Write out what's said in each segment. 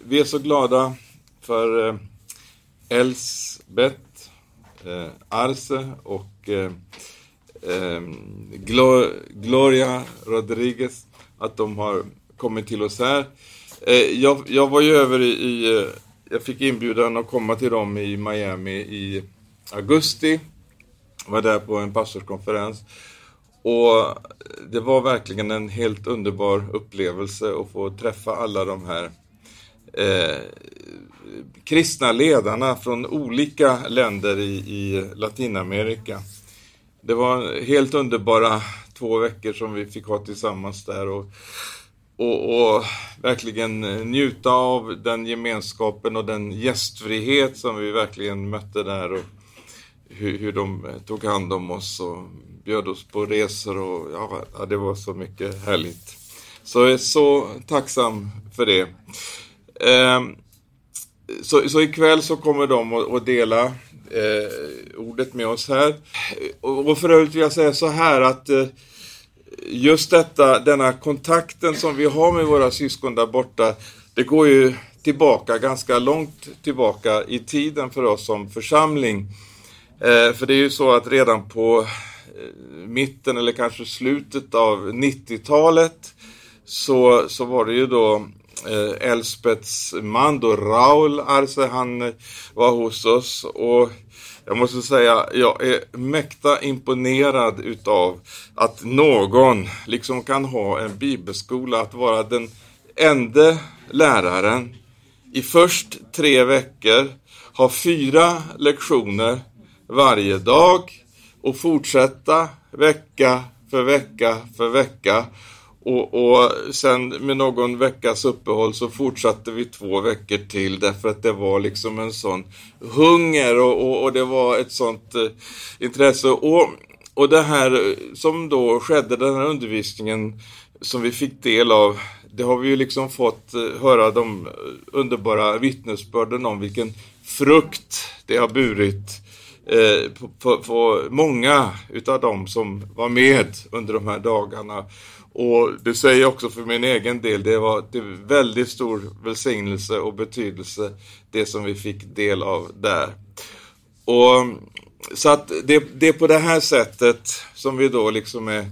vi är så glada för eh, Elsbeth, eh, Arce och eh, eh, Glo- Gloria Rodriguez att de har kommit till oss här. Eh, jag, jag var ju över i, i eh, jag fick inbjudan att komma till dem i Miami i augusti. Var där på en pastorskonferens. Och det var verkligen en helt underbar upplevelse att få träffa alla de här eh, kristna ledarna från olika länder i, i Latinamerika. Det var helt underbara två veckor som vi fick ha tillsammans där och, och, och verkligen njuta av den gemenskapen och den gästfrihet som vi verkligen mötte där och hur, hur de tog hand om oss och bjöd oss på resor och ja, ja, det var så mycket härligt. Så jag är så tacksam för det. Ehm, så, så ikväll så kommer de att att dela eh, ordet med oss här. Och, och för övrigt vill jag säga så här att eh, just detta, denna kontakten som vi har med våra syskon där borta, det går ju tillbaka, ganska långt tillbaka i tiden för oss som församling. Eh, för det är ju så att redan på eh, mitten eller kanske slutet av 90-talet så, så var det ju då eh, Elspets man då, Raul Arce, han eh, var hos oss och jag måste säga, jag är mäkta imponerad utav att någon liksom kan ha en bibelskola, att vara den enda läraren i först tre veckor, ha fyra lektioner varje dag och fortsätta vecka för vecka för vecka. Och, och sen med någon veckas uppehåll så fortsatte vi två veckor till därför att det var liksom en sån hunger och, och, och det var ett sånt eh, intresse. Och, och det här eh, som då skedde, den här undervisningen som vi fick del av, det har vi ju liksom fått eh, höra de underbara vittnesbörden om vilken frukt det har burit eh, på, på, på många utav dem som var med under de här dagarna. Och det säger jag också för min egen del, det var till väldigt stor välsignelse och betydelse det som vi fick del av där. Och, så att det, det är på det här sättet som vi då liksom är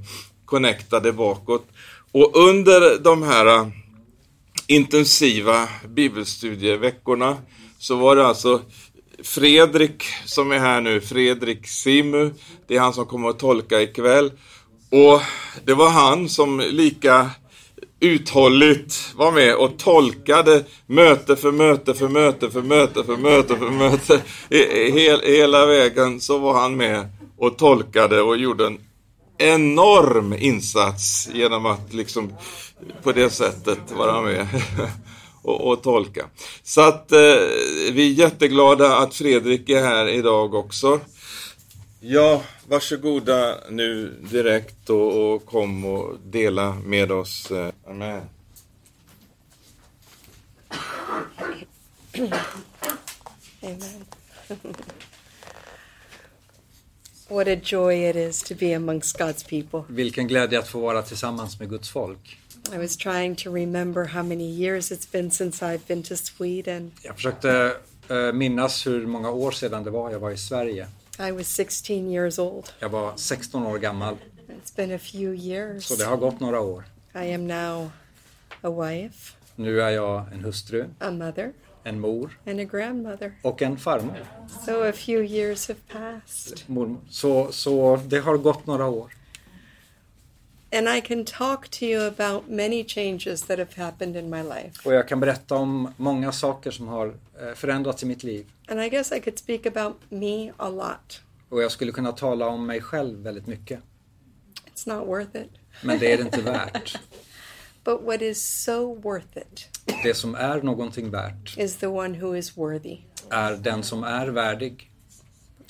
connectade bakåt. Och under de här eh, intensiva bibelstudieveckorna så var det alltså Fredrik som är här nu, Fredrik Simu, det är han som kommer att tolka ikväll. Och det var han som lika uthålligt var med och tolkade möte för möte för möte för möte för möte för möte. I- i- hel- Hela vägen så var han med och tolkade och gjorde en enorm insats genom att liksom på det sättet vara med och, och tolka. Så att eh, vi är jätteglada att Fredrik är här idag också. Ja, varsågoda nu direkt och, och kom och dela med oss. eh, Amen. Amen. what a joy it is to be amongst God's people. Vilken glädje att få vara tillsammans med Guds folk. I was trying to remember how many years it's been since I've been to Sweden. Jag försökte eh, minnas hur många år sedan det var jag var i Sverige. I was 16 years old. Jag var 16 år gammal, It's been a few years. så det har gått några år. I am now a wife, Nu är jag en hustru, a mother, en mor and a grandmother. och en farmor. So a few years have passed. Mormor. Så, så det har gått några år. And I can talk to you about many changes that have happened in my life. Och jag kan berätta om många saker som har eh, förändrats i mitt liv. And I guess I could speak about me a lot. Och jag skulle kunna tala om mig själv väldigt mycket. It's not worth it. Men det är det inte värt. But what is so worth it Det som är någonting värt is the one who is worthy, är den som är värdig,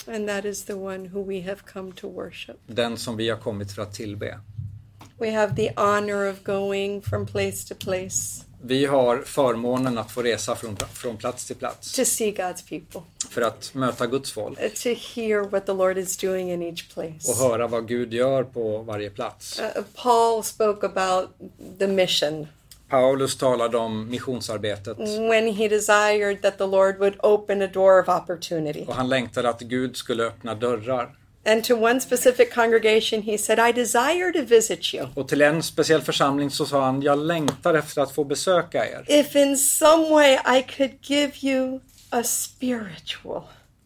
and that is the one who we have come to worship. den som vi har kommit för att tillbe. We have the honor of going from place to place Vi har förmånen att få resa från, från plats till plats to see God's people, för att möta Guds folk uh, to hear what the Lord is doing in each place. och höra vad Gud gör på varje plats. Uh, Paul spoke about the mission, Paulus talade om missionsarbetet when he desired that the Lord would open a door of opportunity. och han längtade att Gud skulle öppna dörrar. And to one specific congregation, he said, I desire to visit you. Och till en speciell församling så sa han, jag längtar efter att få besöka er. If in some way I could give you a spiritual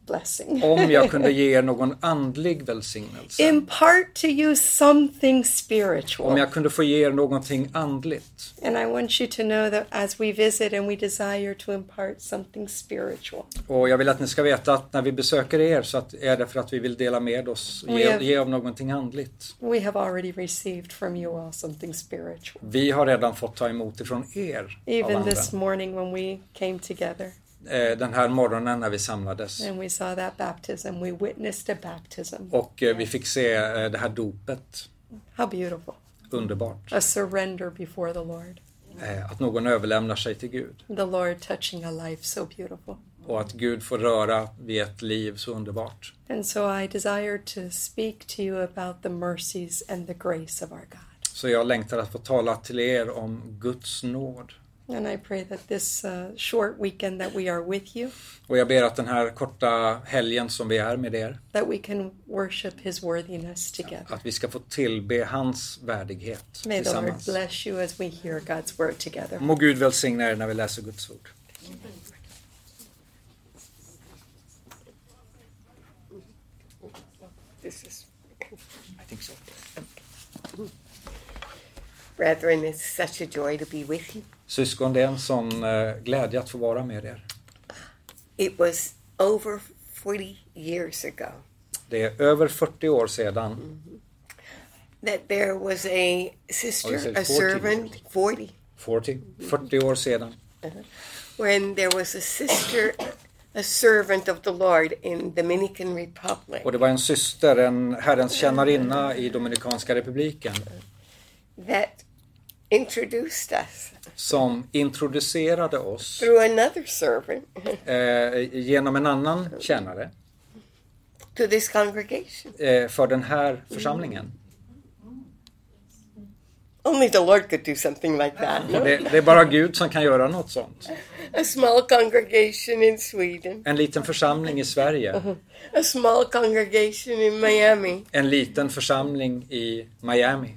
blessing, Om jag kunde ge er någon andlig välsignelse. impart to you something Om spiritual. jag kunde få ge er någonting andligt. And I want you to know that as we visit and we desire to impart something spiritual, Och jag vill att ni ska veta att när vi besöker er så att, är det för att vi vill dela med oss, ge, ge av någonting andligt. we have already received from you all something spiritual. Vi har redan fått ta emot ifrån er av Even anden. this morning when we came together Eh, Den här morgonen när vi samlades. and we saw that baptism, we witnessed a baptism. Och eh, vi fick se eh, det här dopet. How beautiful. Underbart. A surrender before the Lord. Eh, Att någon överlämnar sig till Gud. The Lord touching a life so beautiful. Och att Gud får röra vid ett liv så underbart. And so I desire to speak to you about the mercies and the grace of our God. Så jag längtar att få tala till er om Guds nåd. And I pray that this uh, short weekend that we are with you, Och jag ber att den här korta helgen som vi är med er, that we can worship His worthiness together. att vi ska få tillbe hans värdighet May the Lord tillsammans. bless you as we hear God's word together. Må Gud välsigna er när vi läser Guds ord. This is, I think so. brethren, it's such a joy to be with you. Syskon, det är en sån eh, glädje att få vara med er. It was over 40 years ago Det är över 40 år sedan, that there was a Oh, you sister, said a 40 servant, 40, 40, 40 år sedan, when there was a sister, a servant of the Lord in Dominican Republic och det var en syster, en Herrens tjänarinna i Dominikanska republiken, that introduced us som introducerade oss through another servant eh, genom en annan tjänare to this congregation. eh, för den här församlingen. Only the Lord could do something like that. no? Det, det är bara Gud som kan göra något sånt. A small congregation in Sweden, En liten församling i Sverige, a small congregation in Miami. en liten församling i Miami.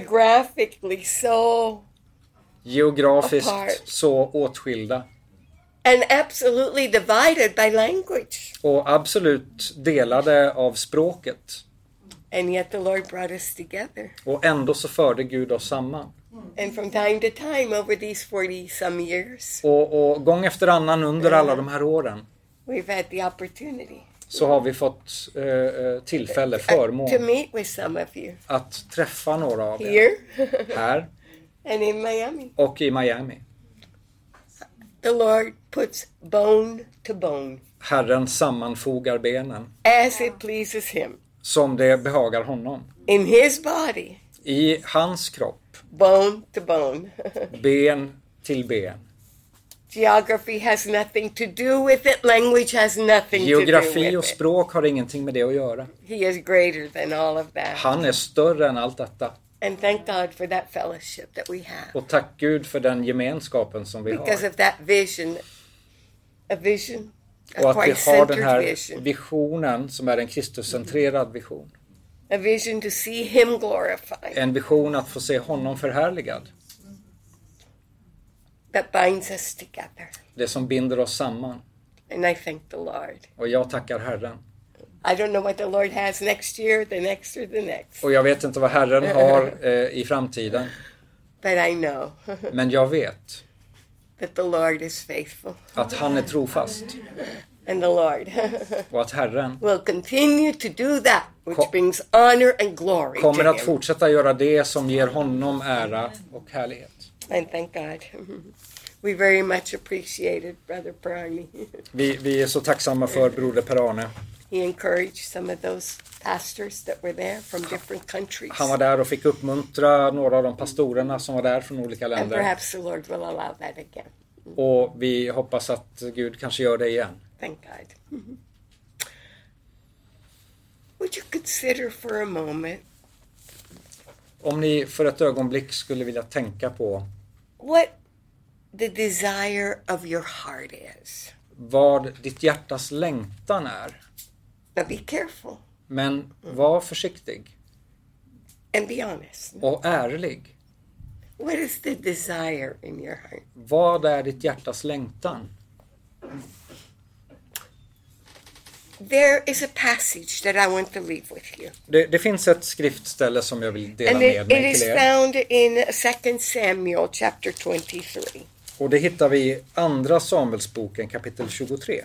geographically so Geografiskt Apart. så åtskilda and absolutely divided by language. och absolut delade av språket. And yet the Lord brought us together. Och ändå så förde Gud oss samman. And from time to time over these 40 some years, Och, och gång efter annan under Eh. alla de här åren we've had the opportunity så har vi fått eh, eh, tillfälle, uh, to förmån meet with some of you att träffa några av er here här and in Miami. och i Miami. The Lord puts bone to bone Herren sammanfogar benen as it pleases Him som det behagar honom. in His body, I hans kropp, bone to bone. ben till ben. Geography has nothing to do with it, language has nothing to Geografi do och with it. språk har ingenting med det att göra. He is greater than all of that. Han är större än allt detta. And thank God for that fellowship that we have. Och tack Gud för den gemenskapen som vi har. Because of that vision, a vision, a Och att vi Christ har den centered här vision, visionen som är en Kristuscentrerad vision. a vision to see Him glorified En vision att få se honom förhärligad. that binds us together. Det som binder oss samman. And I thank the Lord. Och jag tackar Herren. I don't know what the Lord has next year, the next, or the next, Och jag vet inte vad Herren har eh, i framtiden. but I know Men jag vet that the Lord is faithful att han är trofast. and the Lord Och att Herren will continue to do that which Co- brings honor and glory kommer to att Him. fortsätta göra det som ger honom ära och härlighet. And thank God. We very much appreciated Brother Brownie. Vi, vi är så tacksamma för broder Per-Arne. He encouraged some of those pastors that were there from different countries. Han var där och fick uppmuntra några av de pastorerna som var där från olika and länder. perhaps the Lord will allow that again. Och vi hoppas att Gud kanske gör det igen. Thank God. Would you consider for a moment Om ni för ett ögonblick skulle vilja tänka på what the desire of your heart is. vad ditt hjärtas längtan är. Now be careful Men var försiktig and be honest. och ärlig. What is the desire in your heart? Vad är ditt hjärtas längtan? There is a passage that I want to leave with you. Det, det finns ett skriftställe som jag vill dela And med it, it mig is till er. found in 2 Samuel chapter 23. Och det hittar vi i Andra Samuelsboken kapitel 23.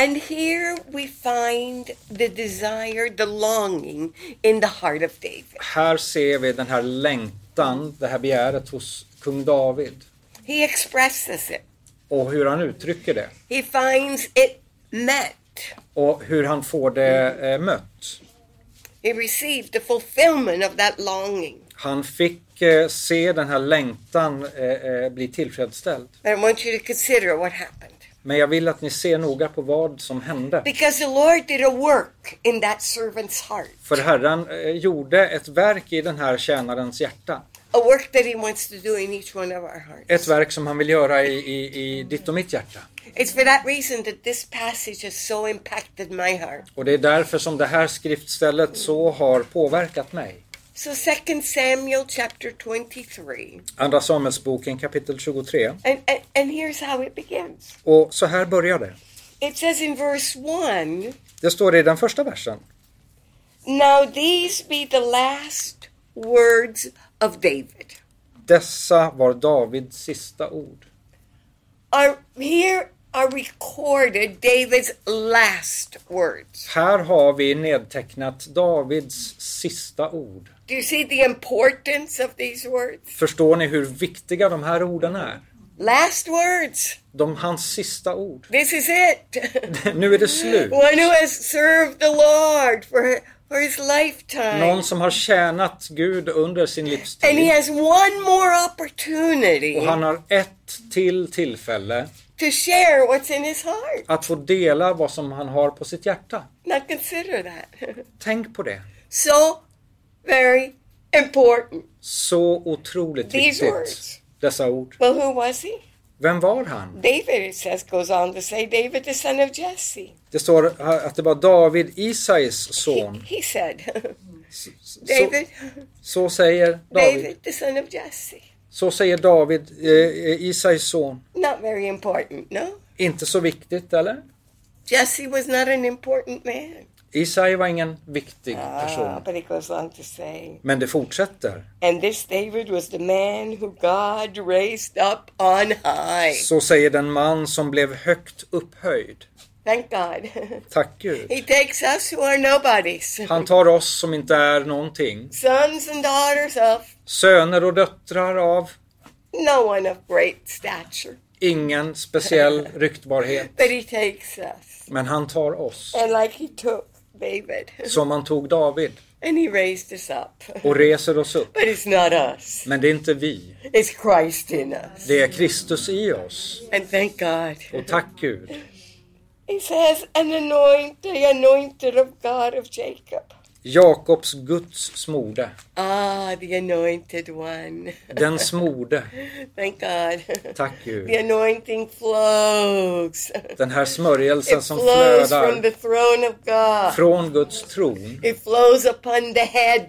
And here we find the desire, the longing in the heart of David. Här ser vi den här längtan, det här begäret hos kung David. He expresses it, Och hur han uttrycker det. he finds it met. Och hur han får det eh, mött. He received the fulfillment of that longing. Han fick eh, se den här längtan eh, eh, bli tillfredsställd. But I want you to consider what happened. Men jag vill att ni ser noga på vad som hände. Because the Lord did a work in that servant's heart, För Herren eh, gjorde ett verk i den här tjänarens hjärta. a work that He wants to do in each one of our hearts. Ett verk som han vill göra i, i, i ditt och mitt hjärta. It's for that reason that this passage has so impacted my heart. Och det är därför som det här skriftstället så har påverkat mig. So 2 Samuel chapter 23. Andra Samuelsboken kapitel 23. And, and, and here's how it begins. Och så här börjar det. It says in verse 1 Det står i den första versen. Now these be the last words of David. Dessa var Davids sista ord. Are, here are recorded David's last words. Här har vi nedtecknat Davids sista ord. Do you see the importance of these words? Förstår ni hur viktiga de här orden är? Last words. De, hans sista ord. This is it. Nu är det slut. One who has served the Lord for, for his lifetime. Någon som har tjänat Gud under sin And he livstid. has one more opportunity Och han har ett till tillfälle to share what's in his heart. att få dela vad som han har på sitt hjärta. Now consider that. Tänk på det. so very important. Så otroligt These viktigt. words. Dessa ord. Well, who was he? Vem var han? David, it says, goes on to say, David, the son of Jesse. Det står här att det var David, Isais He, son. he said, Så, David, så säger David. David, the son of Jesse. Så säger David, eh, Isais son. Not very important, no? Inte så viktigt, eller? Jesse was not an important man. Isai var ingen viktig Ah, person. but it goes on to say, Men det fortsätter. and this David was the man who God raised up on high. Så säger den man som blev högt upphöjd. Thank God. Tack Gud. he takes us who are nobodies, Han tar oss som inte är någonting. sons and daughters of Söner och döttrar av no one of great stature, ingen speciell ryktbarhet. but he takes us. Men han tar oss. And like he took David, Som han tog David and he raised us up. och reser oss upp. But it's not us, Men det är inte vi. it's Christ in us. Det är Kristus i oss. And thank God. Och tack Gud. He says, an anointed, the anointed of God of Jacob. Jakobs Guds smorde. Ah, the anointed one. Den smorde. Thank God. Tack The Gud. anointing flows. Den här smörjelsen It som flows from flödar the throne of God. från Guds tron It flows upon the head.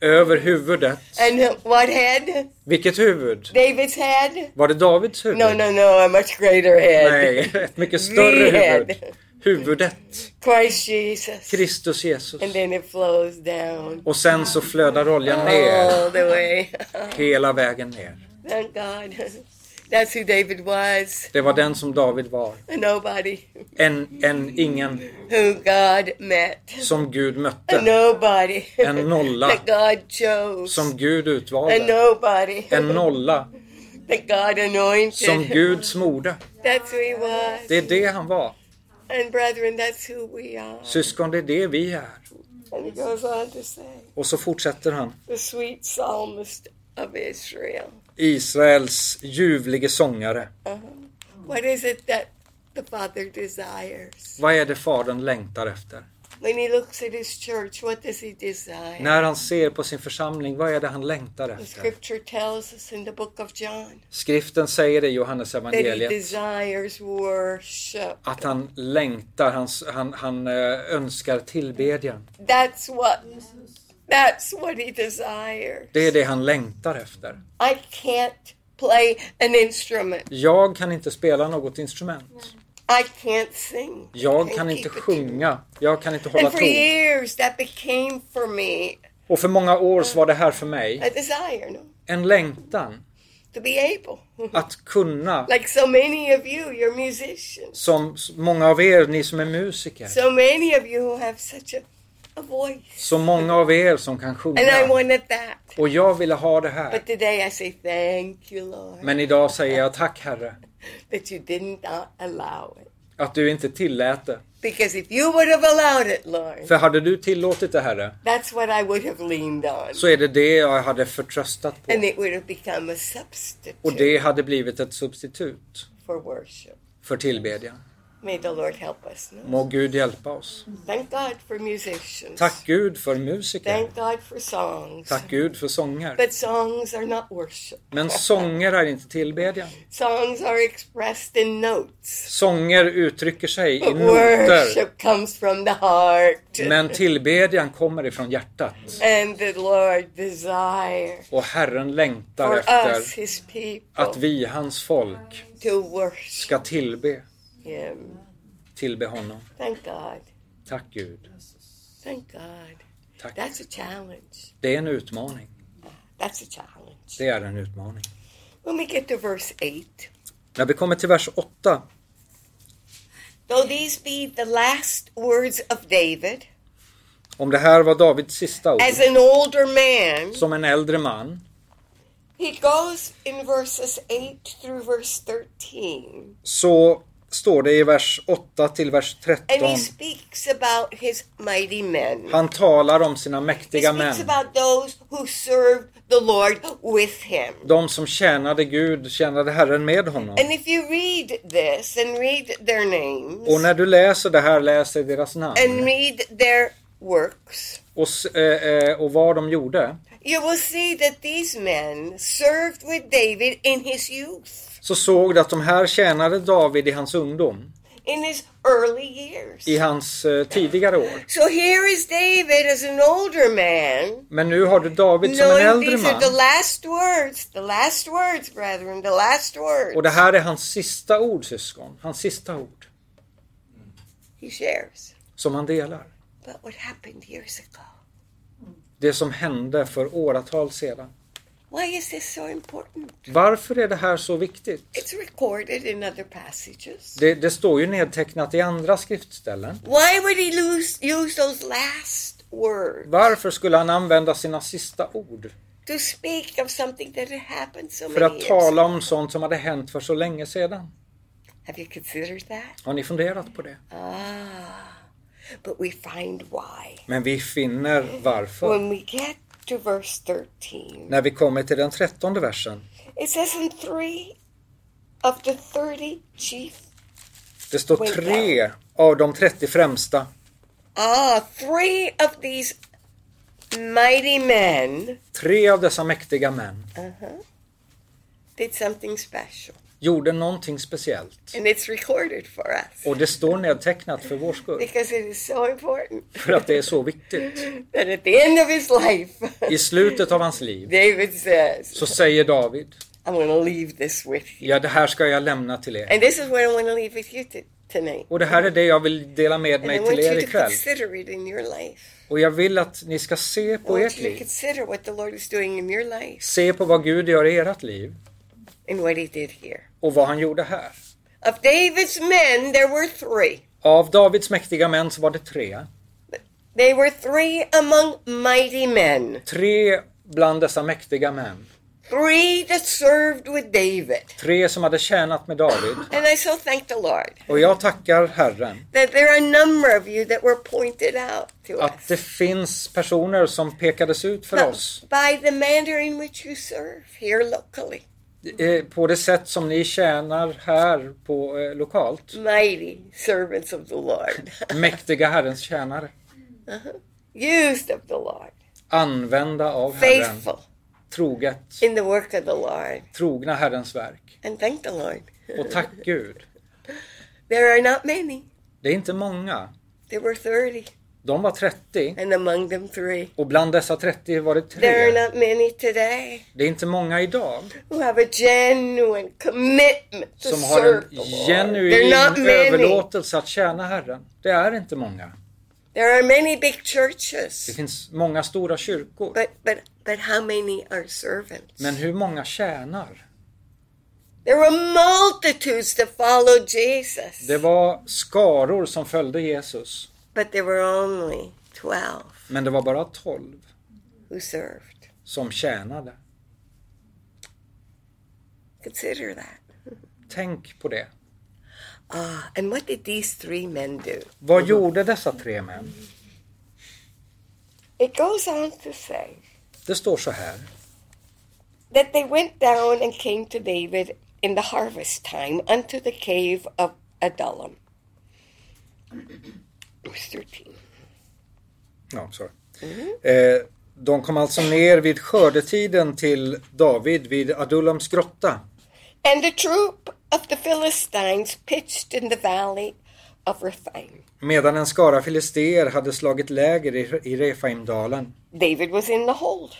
över huvudet. And what head? Vilket huvud? David's head? Var det Davids huvud? No, no, no, a much greater Nej, head. ett mycket större huvud. Red. Huvudet, Christ Jesus. Kristus Jesus. And then it flows down Och sen så flödar oljan ner, all the way. hela vägen ner. Thank God. That's who David was. Det var den som David var. A nobody En, en ingen who God met. som Gud A mötte. nobody En nolla that God chose. som Gud A utvalde. nobody En nolla that God anointed. som Gud smorde. That's who he was. Det är det han var. And brethren, that's who we are. Syskon, det är det vi är. And he goes on to say, Och så fortsätter han. the sweet psalmist of Israel. Israels ljuvlige sångare. What is it that the Father desires? Vad är det Fadern längtar efter? When he looks at his church, what does he desire? När han ser på sin församling, vad är det han längtar The efter? scripture tells us in the book of John Skriften säger det i Johannes that he evangeliet desires worship. att han längtar, han, han, han eh, önskar tillbedjan. That's what that's what he desires. Det är det han längtar efter. I can't play an instrument. Jag kan inte spela något instrument. I can't sing. I Jag can't kan keep inte a tune. sjunga. Jag kan inte hålla And for ton. years that became for me Och för många år så var det här för mig a desire, no? en längtan To be able. att kunna, like so many of you, you're musicians. som s- många av er, ni som är musiker, So many of you who have such a, a voice. så många av er som kan And I sjunga. wanted that. Och jag ville ha det här. But today I say thank you, Lord, Men idag säger jag tack Herre, that you did not allow it. att du inte tillät det. Because if you would have allowed it, Lord, För hade du tillåtit det Herre, that's what I would have leaned on. så är det det jag hade förtröstat and på. it would have become a substitute Och det hade blivit ett substitut for worship. för tillbedjan. May the Lord help us. No? Må Gud hjälpa oss. Thank God for musicians. Tack Gud för musiker. Thank God for songs. Tack Gud för sånger. But songs are not worship. Men sånger är inte tillbedjan. Songs are expressed in notes. Sånger uttrycker sig i But noter. worship comes from the heart. Men tillbedjan kommer ifrån hjärtat. and the Lord desires Och Herren längtar for efter us, His people, att vi, hans folk, to worship ska tillbe, Him. tillbe honom. Thank God. Tack Gud. Thank God. Tack. That's a challenge. Det är en utmaning. That's a challenge. Det är en utmaning. When we get to verse 8, När vi kommer till vers 8. though these be the last words of David, Om det här var Davids sista ord, as an older man, som en äldre man, he goes in verses 8 through verse 13, så står det i vers 8 till vers and 13. he speaks about his mighty men. Han talar om sina He mäktiga män. speaks about those who served the Lord with him. De som tjänade Gud, tjänade Herren med honom. And if you read this and read their names Och när du läser det här, läser deras and namn read their works, och, s- eh, eh, och vad de gjorde, you will see that these men served with David in his youth, så såg du att de här tjänade David i hans ungdom, in his early years. i hans eh, tidigare år. So here is David as an older man, Men nu har du David som en knowing äldre these are the man. last words, the last words, brethren, the last words Och det här är hans sista ord, syskon. Hans sista ord, he shares som han delar. about what happened years ago. Det som hände för åratal sedan. Why is this so important? Varför är det här så viktigt? It's recorded in other passages. Det, det står ju nedtecknat i andra skriftställen. Why would he lose, use those last words Varför skulle han använda sina sista ord? to speak of something that had happened so För many att years? tala om sånt som hade hänt för så länge sedan. Have you considered that? Har ni funderat på det? Ah, but we find why Men vi finner varför. when we get to verse 13. När vi kommer till den trettonde versen. It says, "In three of the thirty chief." Det står tre av de 30 främsta. Ah, three of these mighty men Tre av dessa mäktiga män uh-huh, did something special, gjorde någonting speciellt. and it's recorded for us Och det står nedtecknat för vår skull. because it is so important. För att det är så viktigt. that at the end of his life, I slutet av hans liv David says, så säger David, I'm going to leave this with you. ja det här ska jag lämna till er. And this is what I want to leave with you t- tonight. Och det här är det jag vill dela med And I mig want till er you to ikväll. consider it in your life. Och jag vill att ni ska se I på want ert you to liv. consider what the Lord is doing in your life Se på vad Gud gör i ert liv and what he did here. och vad han gjorde här. Of David's men, there were three. Av Davids mäktiga män så var det tre. They were three among mighty men. Tre bland dessa mäktiga män. Three that served with David. Tre som hade tjänat med David. And I so thank the Lord Och jag tackar Herren that there are a number of you that were pointed out to att us. det finns personer som pekades ut för oss By the manner in which you serve here locally. eh, på det sätt som ni tjänar här på eh, lokalt. mighty servants of the Lord. Mm. Mäktiga Herrens tjänare. used of the Lord, använda av Herren, faithful troget, in the work of the Lord, trogna Herrens verk. and thank the Lord. Och tack Gud, There are not many. det är inte många. There were 30, De var 30 and among them three. och bland dessa 30 var det There are tre. not many today Det är inte många idag who have a genuine commitment to som har en serve the Lord. There are genuin not many. överlåtelse att tjäna Herren. Det är inte många. There are many big Det churches, finns många stora kyrkor. but but but how many are servants? Men hur många tjänar? There were multitudes to follow Jesus, Det var skaror som följde Jesus, but there were only 12 men det var bara 12 who served. som tjänade. Consider that. Tänk på det. Ah, and what did these three men do? Vad gjorde dessa tre män? It goes on to say Det står så här. that they went down and came to David in the harvest time unto the cave of Adullam. Verse 13. Ja, sorry. Eh, de kom alltså ner vid skördetiden till David vid Adullams grotta. And the troop of the Philistines pitched in the valley of Rephaim. Medan en skara filister hade slagit läger i, i Refaimdalen. David was in the hold.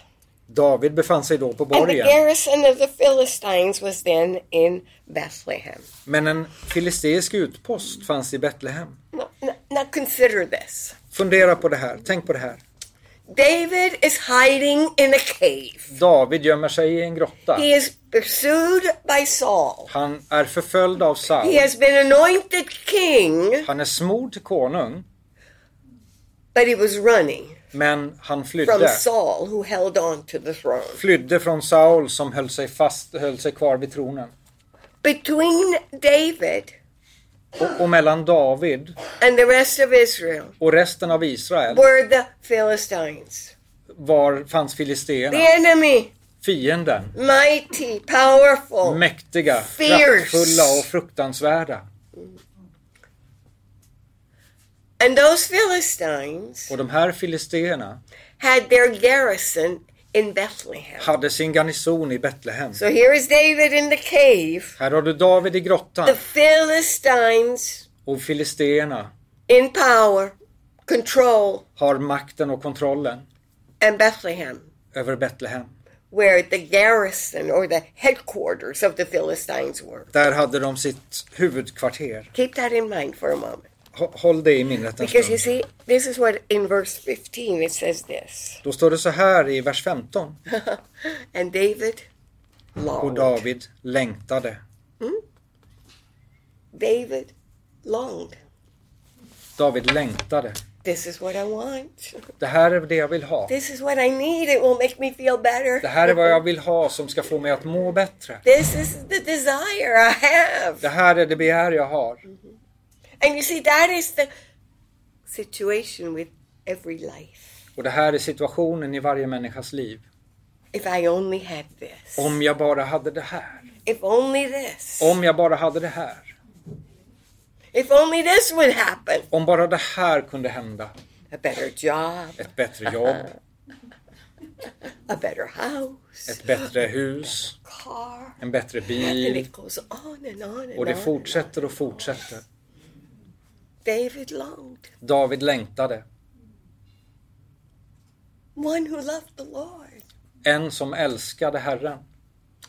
David befann sig då på And the borgen. garrison of the Philistines was then in Bethlehem. Men en filistisk utpost fanns i Betlehem. Now, now- now consider this. Fundera på det här, tänk på det här. David is hiding in a cave. David gömmer sig i en grotta. He is pursued by Saul. Han är förföljd av He Saul. has been anointed king, Han är smord till konung, but he was running men han from flydde. Saul, who held on to the throne. Flydde från Saul som höll sig fast, höll sig kvar vid tronen. Between David Och, och mellan David and the rest of Israel och resten av Israel were the Philistines. var, fanns The filisterna, enemy, fienden, mighty, powerful. mäktiga, Fierce. kraftfulla och fruktansvärda. And those Philistines Och de här filisterna had their garrison in Bethlehem. hade sin garnison i Betlehem. So here is David in the cave, Här har du David i grottan the Philistines och filisterna in power, control, har makten och kontrollen and Bethlehem, över Betlehem. where the garrison or the headquarters of the Philistines were. Där hade de sitt huvudkvarter. Keep that in mind for a moment. Hå- Håll det i minnet en Because you stund. see, this is what in verse 15 it says this. Då står det så här i vers 15. and David Och longed. David längtade. David longed. David längtade. This is what I want. Det här är det jag vill ha. This is what I need. It will make me feel better. Det här är vad jag vill ha som ska få mig att må bättre. This is the desire I have. Det här är det begär jag har. And you see, that is the situation with every life. Och det här är situationen i varje människas liv. If I only had this. Om jag bara hade det här. If only this. Om jag bara hade det här. If only this would happen. Om bara det här kunde hända. A better job, Ett bättre jobb, a better house, ett bättre hus, car. en bättre And bil. it goes on and on and Och det on. fortsätter och fortsätter. David longed. David längtade. One who loved the Lord. En som älskade Herren.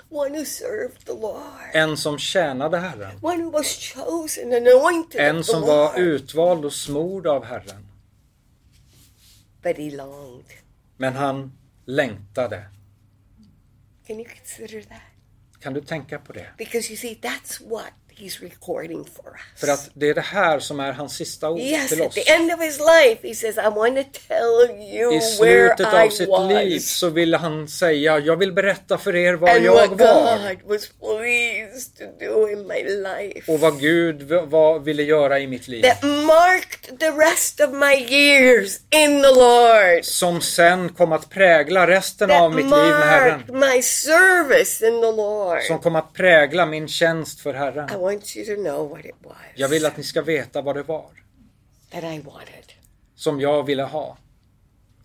One who served the Lord. En som tjänade Herren. One who was chosen, anointed En of the som Lord. var utvald och smord av Herren. But he longed. Men han längtade. Can you consider that? Kan du tänka på det? Because you see, that's what he's recording for us. För att det är det här som är hans sista ord yes, till at oss. the end of his life, he says, I want to tell you I where slutet I av sitt liv was så ville han säga, jag vill berätta för er var and jag what var God was pleased to do in my life. och vad Gud v- vad ville göra i mitt liv. That marked the rest of my years in the Lord. Som sen kom att prägla resten av That mitt liv med Herren. marked my service in the Lord. Som kom att prägla min tjänst för Herren. I want you to know what it was Jag vill att ni ska veta vad det var that I wanted. som jag ville ha.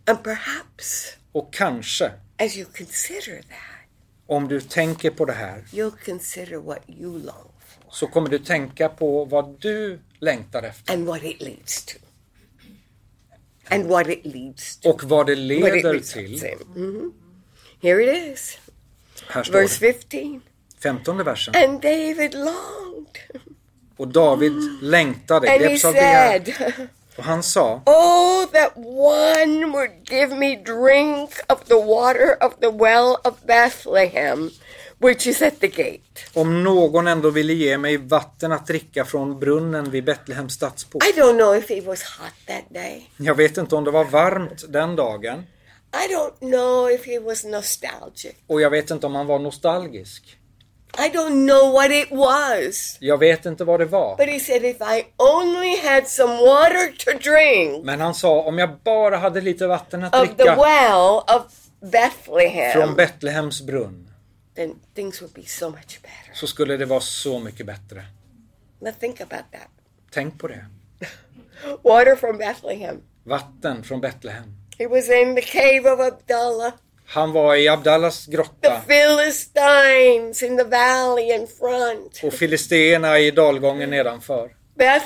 And perhaps Och kanske, as you consider that, om du tänker på det här, you'll consider what you long for så kommer du tänka på vad du längtar efter and what it leads to. And what it leads to. och vad det What it leder results till. in. Mhm. Here it is, Här står verse det, 15. 15 versen. And David longed. Och David längtade, And he greps av begär. said, Och han sa, Oh, that one would give me drink of the water of the well of Bethlehem, which is at the gate. om någon ändå ville ge mig vatten att dricka från brunnen vid Betlehems stadsport. I don't know if it was hot that day. Jag vet inte om det var varmt den dagen I don't know if he was nostalgic. och jag vet inte om han var nostalgisk. I don't know what it was. Jag vet inte vad det var. But he said, if I only had some water to drink Men han sa, om jag bara hade lite vatten att of the dricka well of från Bethlehem, Betlehems brunn then things would be so much better. så skulle det vara så mycket bättre. Now think about that. Tänk på det. Water from Bethlehem. Vatten från Betlehem. He was in the cave of Abdullah. Han var i Abdallas the grotta Philistines in the valley in front, och filisteerna i dalgången nedanför.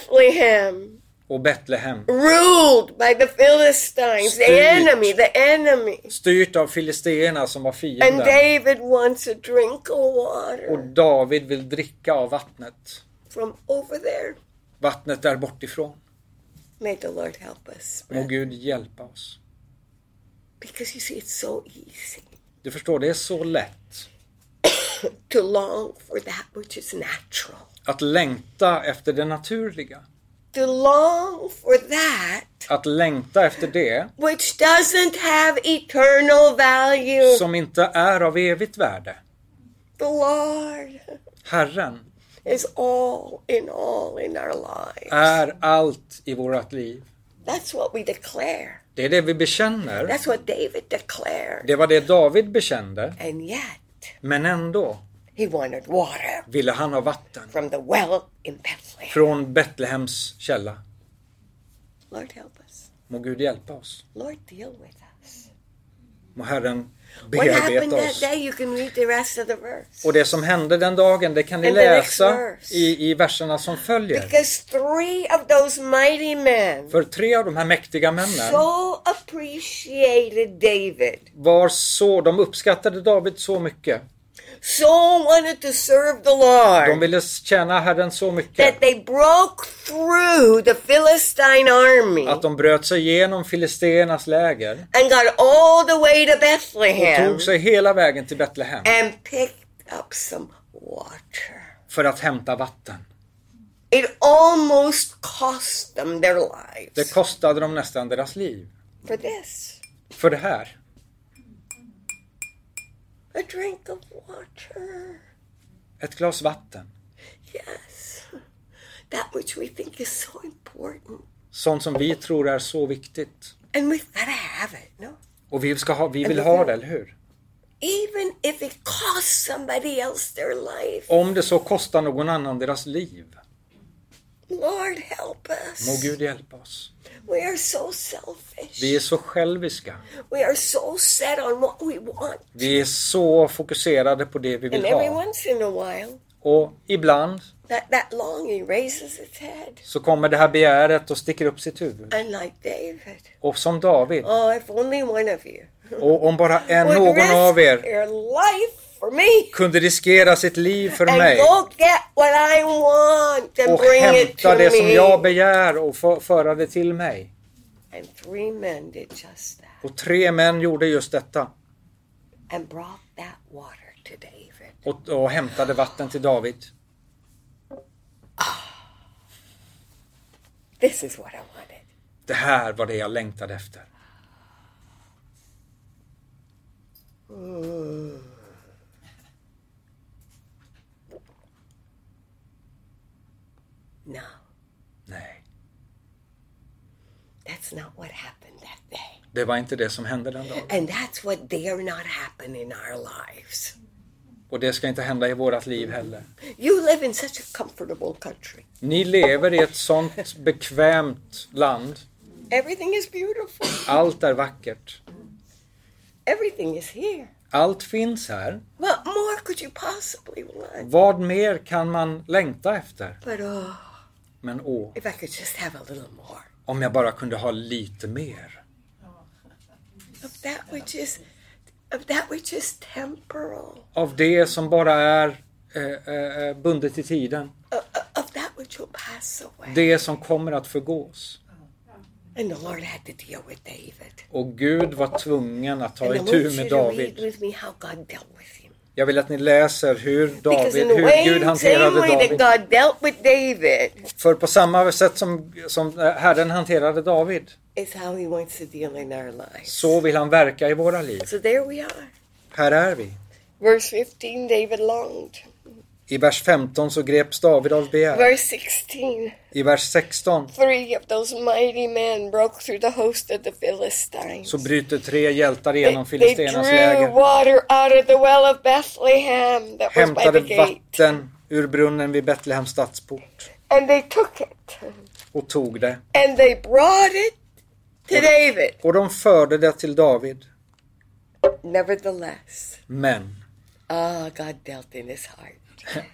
Bethlehem, Och Betlehem, ruled by the Philistines, the Styrt. enemy, the enemy. styrt av filisteerna som var And fienden. David wants a drink of Och water David vill dricka av vattnet. from over there. Vattnet där bortifrån. May the Lord help us. Må Gud hjälpa oss. Because you see, it's so easy Du förstår, det är så lätt to long for that which is natural, att längta efter det naturliga. to long for that Att längta efter det which doesn't have eternal value. som inte är av evigt värde. the Lord Herren is all in all in our lives. är allt i vårt liv. That's what we declare. Det är det vi bekänner. That's what David declared. Det var det David bekände, And yet, men ändå he wanted water ville han ha vatten from the well in Bethlehem. från Betlehems källa. Lord, help us. Må Gud hjälpa oss. Lord, deal with us. Må Herren What happened bearbeta that oss. day? You can read the rest of the verse. Och det som hände den dagen, det kan ni And the next läsa verse. i, i verserna som följer. Because three of those mighty men För tre av de här mäktiga männen so appreciated David, var så, de uppskattade David så mycket. so wanted to serve the De Lord, ville tjäna Herren så mycket that they broke through the Philistine army att de bröt sig igenom filisteernas läger and got all the way to och Bethlehem. tog sig hela vägen till Betlehem and picked up some water. för att hämta vatten. It almost cost them their lives Det kostade dem nästan deras liv. for this. För det här. A drink of water. Ett glas vatten. Yes. That which we think is so important. Sånt som vi tror är så viktigt. And we've got to have it, no? Och vi, ska ha, vi vill ha det, eller hur? Even if it costs somebody else their life. Om det så kostar någon annan deras liv. Lord, help Må us. Gud hjälpa oss. We are so selfish. Vi är så själviska. We are so set on what we want. Vi är så fokuserade på det vi And vill every ha. once in a while, Och ibland that, that longing raises its head. så kommer det här begäret och sticker upp sitt huvud. And like David. Och som David. Oh, if only one of you Och om bara en, would någon risk av er your life for me kunde riskera sitt liv för and mig go get what I want and och bring it to hämta det som me. jag begär och få- föra det till mig. and three men did just that Och tre män gjorde just detta and brought that water to David. och, och hämtade vatten till David. This is what I wanted. Det här var det jag längtade efter. No, Nej, that's not what happened that day. det var inte det som hände den dagen. And that's what dare not happen in our lives. Och det ska inte hända i vårat liv heller. You live in such a comfortable country. Ni lever i ett sånt bekvämt land Everything is beautiful. Allt är vackert. Everything is here. Allt finns här. What more could you possibly want? Vad mer kan man längta efter? But oh, Men åh, if I could just have a little more om jag bara kunde ha lite mer. of that which is, of that which is temporal, Av det som bara är eh, eh, eh, bundet i tiden. of, of that which will pass away. Det som kommer att förgås. And the Lord had to deal with David. Och Gud var tvungen att ta And I want itu you med to read David. with me how God dealt with him. Jag vill att ni läser hur Because David, in the way, hur Gud same hanterade way that David. God dealt with David För på samma sätt som, som eh, Herren hanterade David, is how he wants to deal in our lives. så vill han verka i våra liv. So there we are. Här är vi. Verse 15, David longed. I vers 15 så greps David av begär. Verse 16, I vers 16 three of those mighty men broke through the host of the Philistines. så bryter tre hjältar They, igenom they filisternas drew läger. water out of the well of Bethlehem that was by the Hämtade gate, vatten ur brunnen vid Betlehems stadsport and they took it, och tog det. and they brought it Mm-hmm. to David. Och de förde det till David. Nevertheless, Men ah, God dealt in his heart.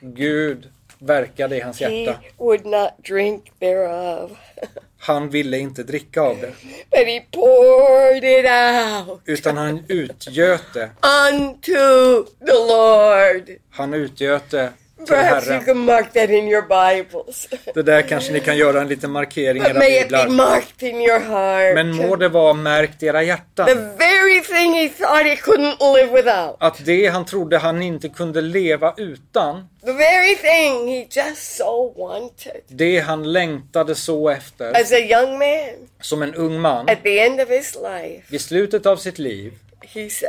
Gud verkade i hans He hjärta. would not drink thereof, Han ville inte dricka av det, but he poured it out utan han utgöt det. unto the Lord. Han utgöt det till Perhaps you Herren. can mark that in your Bibles. Det där kanske ni kan göra en liten markering i But era may it be biblar. marked in your heart. Men må det vara märkt i era hjärtan. the very thing he thought he couldn't live without. Att det han trodde han inte kunde leva utan, The very thing he just so wanted. det han längtade så efter, As a young man, som en ung man, at the end of his life, vid slutet av sitt liv, he så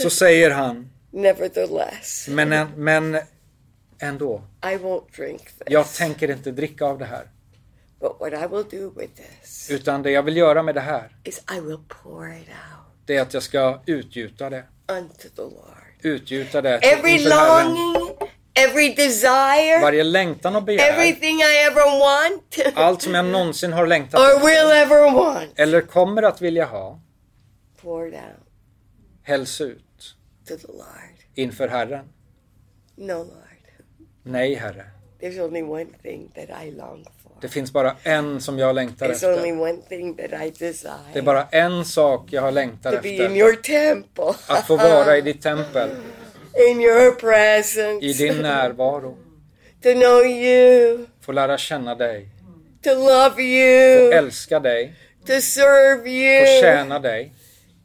says, säger han, Nevertheless, men, ä- men ändå, I won't drink this. jag tänker inte dricka av det här. But what I will do with this Utan det jag vill göra med det här, is I will pour it out det är att jag ska utgjuta det. unto the Lord. Utgjuta det till Every inför Herren. longing, every desire, Varje längtan och begär, everything I ever want allt som jag någonsin har längtat or will ever want, eller kommer att vilja ha pour it out hälls ut to the Lord. inför Herren. No, Lord, Nej, Herre. there's only one thing that I long for. Det finns bara en som jag längtar There's only efter. one thing that I Det är desire bara en sak jag har längtar to be in efter. your temple, Att få vara i ditt tempel, in your i presence, din närvaro. to know you, Få lära känna dig, to love you, älska dig, to serve få you. tjäna dig.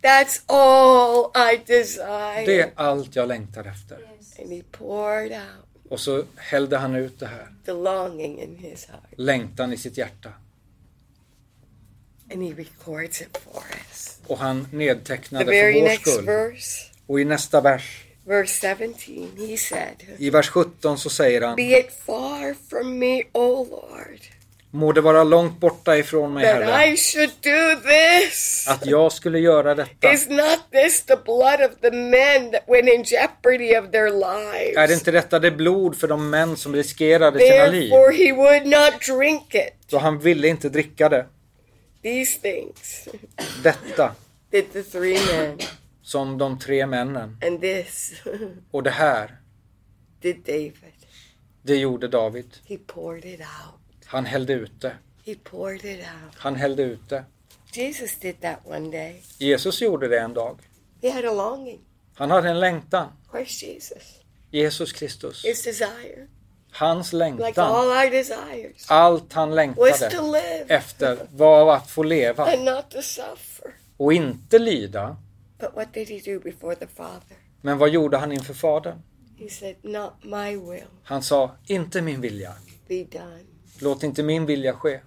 That's all I Det desire. är allt jag längtar efter. And he poured out Och så hällde han ut det här, the longing in his heart, längtan i sitt hjärta. and he records it for us. Och han The nedtecknade very för vår next skull. verse, Och i nästa vers, verse 17, he said, i vers 17 så säger han Be it far from me, O Lord, Må det vara långt borta ifrån mig, that Uh, Herre, I should do this. att jag skulle göra detta. Is not this the blood of the men that went in jeopardy of their Är det lives? inte detta det blod för de män som riskerade sina liv? Therefore, he would not drink it. Så han ville inte dricka det. These things Detta did the three men, som de tre männen. and this Och det här, did David. det gjorde David. He poured it out. Han hällde ut det. He poured it out. Han hällde ut det. Jesus did that one day. Jesus gjorde det en dag. He had a longing. Han hade en längtan. Christ Jesus. Jesus Kristus. His desire, Hans like längtan. all our desires, Allt han was to längtade live efter var att få leva and not to suffer. och inte lida. But what did he do before the Father? Men vad gjorde han inför Fadern? He said, Not my will Han sa, inte min vilja. be done. Låt inte min vilja ske,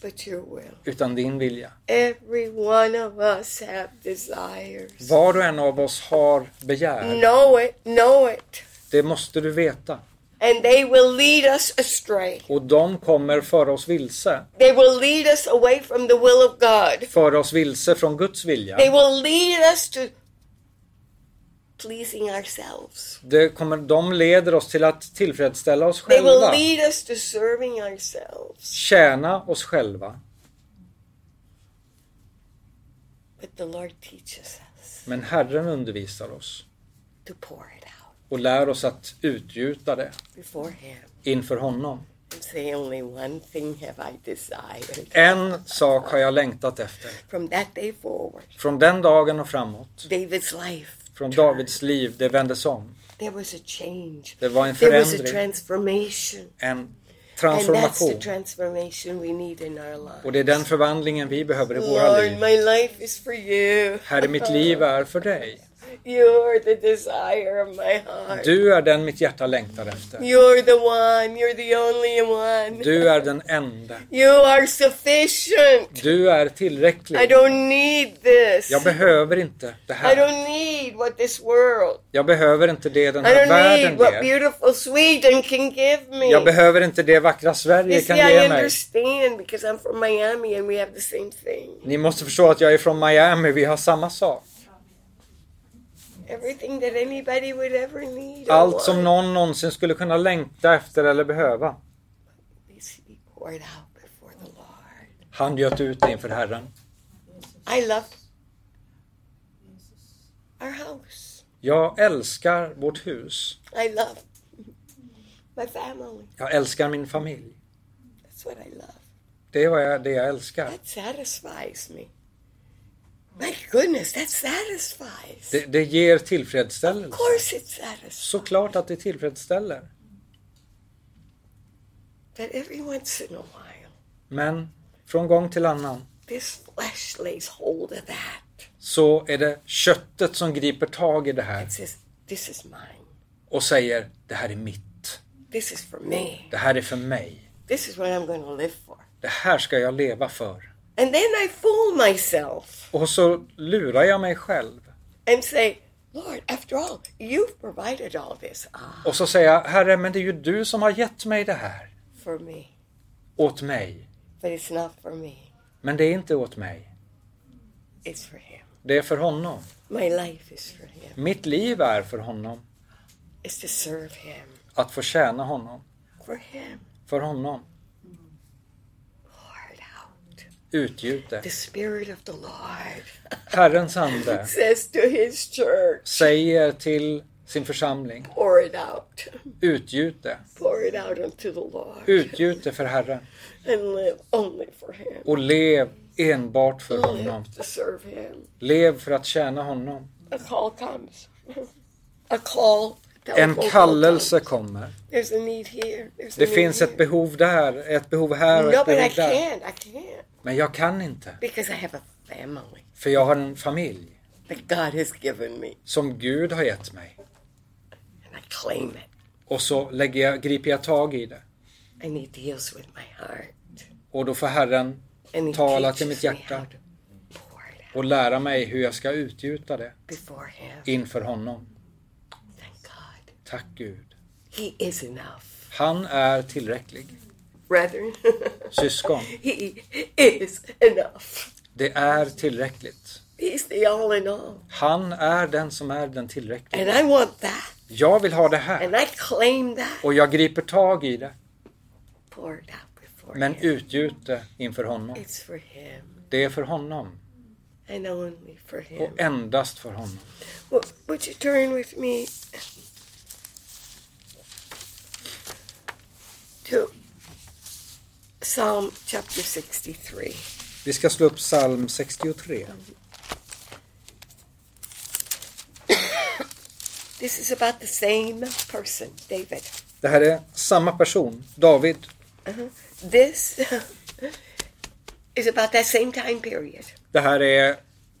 but your will. utan din vilja. Every one of us have desires. Var och en av oss har begär. Know it, know it, Det måste du veta. and they will lead us astray. Och de kommer föra oss vilse. They will lead us away from the will of God. Föra oss vilse från Guds vilja. They will lead us to pleasing ourselves. Det kommer, de leder oss till att tillfredsställa oss They will själva. lead us to serving ourselves. Tjäna oss själva. But the Lord teaches us Men Herren undervisar oss to pour it out och lär oss att utgjuta det before Him inför honom. and say, Only one thing have I desired. En sak har jag längtat efter. From that day forward, Från den dagen och framåt, David's life, från Davids liv, det vändes om. there was a change. Det var en There was a förändring, transformation. en And that's the transformation. transformation we need in our lives. Och det är den förvandlingen vi behöver i våra Lord, liv. my life is for you. Herre, mitt liv är för dig. You're the desire of my heart. Du är den mitt hjärta längtar efter. You're the one. You're the only one. Du är den enda. You are sufficient. Du är I tillräcklig. don't need this. Jag behöver inte det I här. don't need what this world. Jag behöver inte det den I här don't världen need what ger. beautiful Sweden can give me. Jag behöver inte det vackra Sverige You kan see, I ge mig. understand because I'm from Miami and we have the same thing. Ni måste förstå att jag är från Miami, vi har samma sak. Everything that anybody would ever need. or Allt som want någon någonsin skulle kunna längta efter eller behöva. needs to be poured out before the Lord. Han göt ut det inför Herren. I love our house. Jag älskar vårt hus. I love my family. Jag älskar min familj. That's what I love. Det är vad jag, det jag älskar. That satisfies me. My goodness, that satisfies. Det, det ger Of tillfredsställelse. course, it satisfies. Såklart att det tillfredsställer. But every once in a while, Men från gång till annan this flesh lays hold of that. så är det köttet som griper tag i det här It says, This is mine. och säger det här är mitt. This is for me. Det här är för mig. This is what I'm going to live for. Det här ska jag leva för. And then I fool myself Och så lurar jag mig själv. and say, Lord, after all, you've provided all this. Ah, Och så säger jag, Herre, men det är ju du som har gett mig det här. for me. Åt mig. But it's not for me, Men det är inte åt mig. it's for Him. Det är för honom. My life is for Him. Mitt liv är för honom. It's to serve Him. Att få tjäna honom. For Him. För honom. Poured out. Utgjut det. The Spirit of the Lord Herrens ande says to His church, säger till sin församling, pour it out. utgjut det. Pour it out unto the Lord. Utgjut det för Herren. And live only for Him. Och lev enbart för honom. Live to serve Him. Lev för att tjäna honom. A call comes. A call. En telephone call kallelse comes. kommer. There's a need here. There's a Det need finns ett here. behov där, ett behov här och No, ett but I behov där. can't. I can't. Men jag kan inte, Because I have a family för jag har en familj that God has given me. som Gud har gett mig. And I claim it. Och så lägger jag, griper jag tag i det. And he deals with my heart. Och då får Herren And he Tala till teaches mitt me hjärta. how to pour it out och lära mig hur jag ska utgjuta det before him. inför honom. Thank God. Tack Gud. He is enough. Han är tillräcklig. Brethren, Syskon, he is enough. det är tillräckligt. He's the all in all. Han är den som är den tillräckliga. And I want that. Jag vill ha det här And I claim that. och jag griper tag i det. Pour it out before Men him. utgjut det inför honom. It's for him Det är för honom and only for him. och endast för honom. Well, would you turn with me to Psalm chapter 63? Vi ska slå upp psalm 63. This is about the same person, David. Det här är samma person, David. This is about that same time period Det här är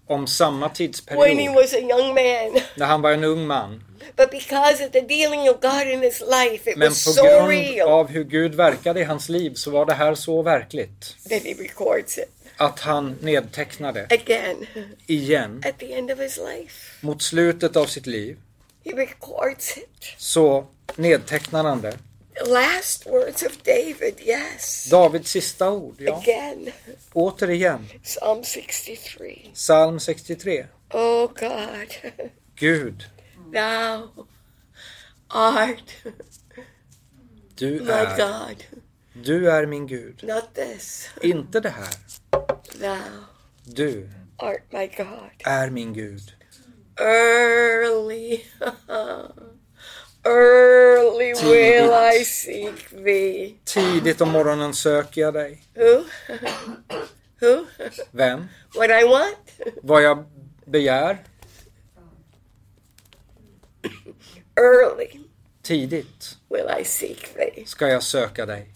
om samma when he tidsperiod, was a young man. när han var en ung man. But because of the dealing of God in his life, it Men was på so grund real av hur Gud verkade i hans liv så var det här så verkligt that he records it att han nedtecknade again igen at the end of his life. mot slutet av sitt liv. He records it. Så nedtecknar han det. The last words of David, yes. Davids sista ord, ja. Again, Återigen, Psalm 63. psalm 63. Oh God, Gud, thou art du my är, God. du är min Gud. Not this, Inte det här. thou Du art my God. är min Gud. Early, early will I seek thee. Tidigt om morgonen söker jag dig. Who? Who? Vem? What I want? Vad jag begär? Early Tidigt will I seek thee. ska jag söka dig.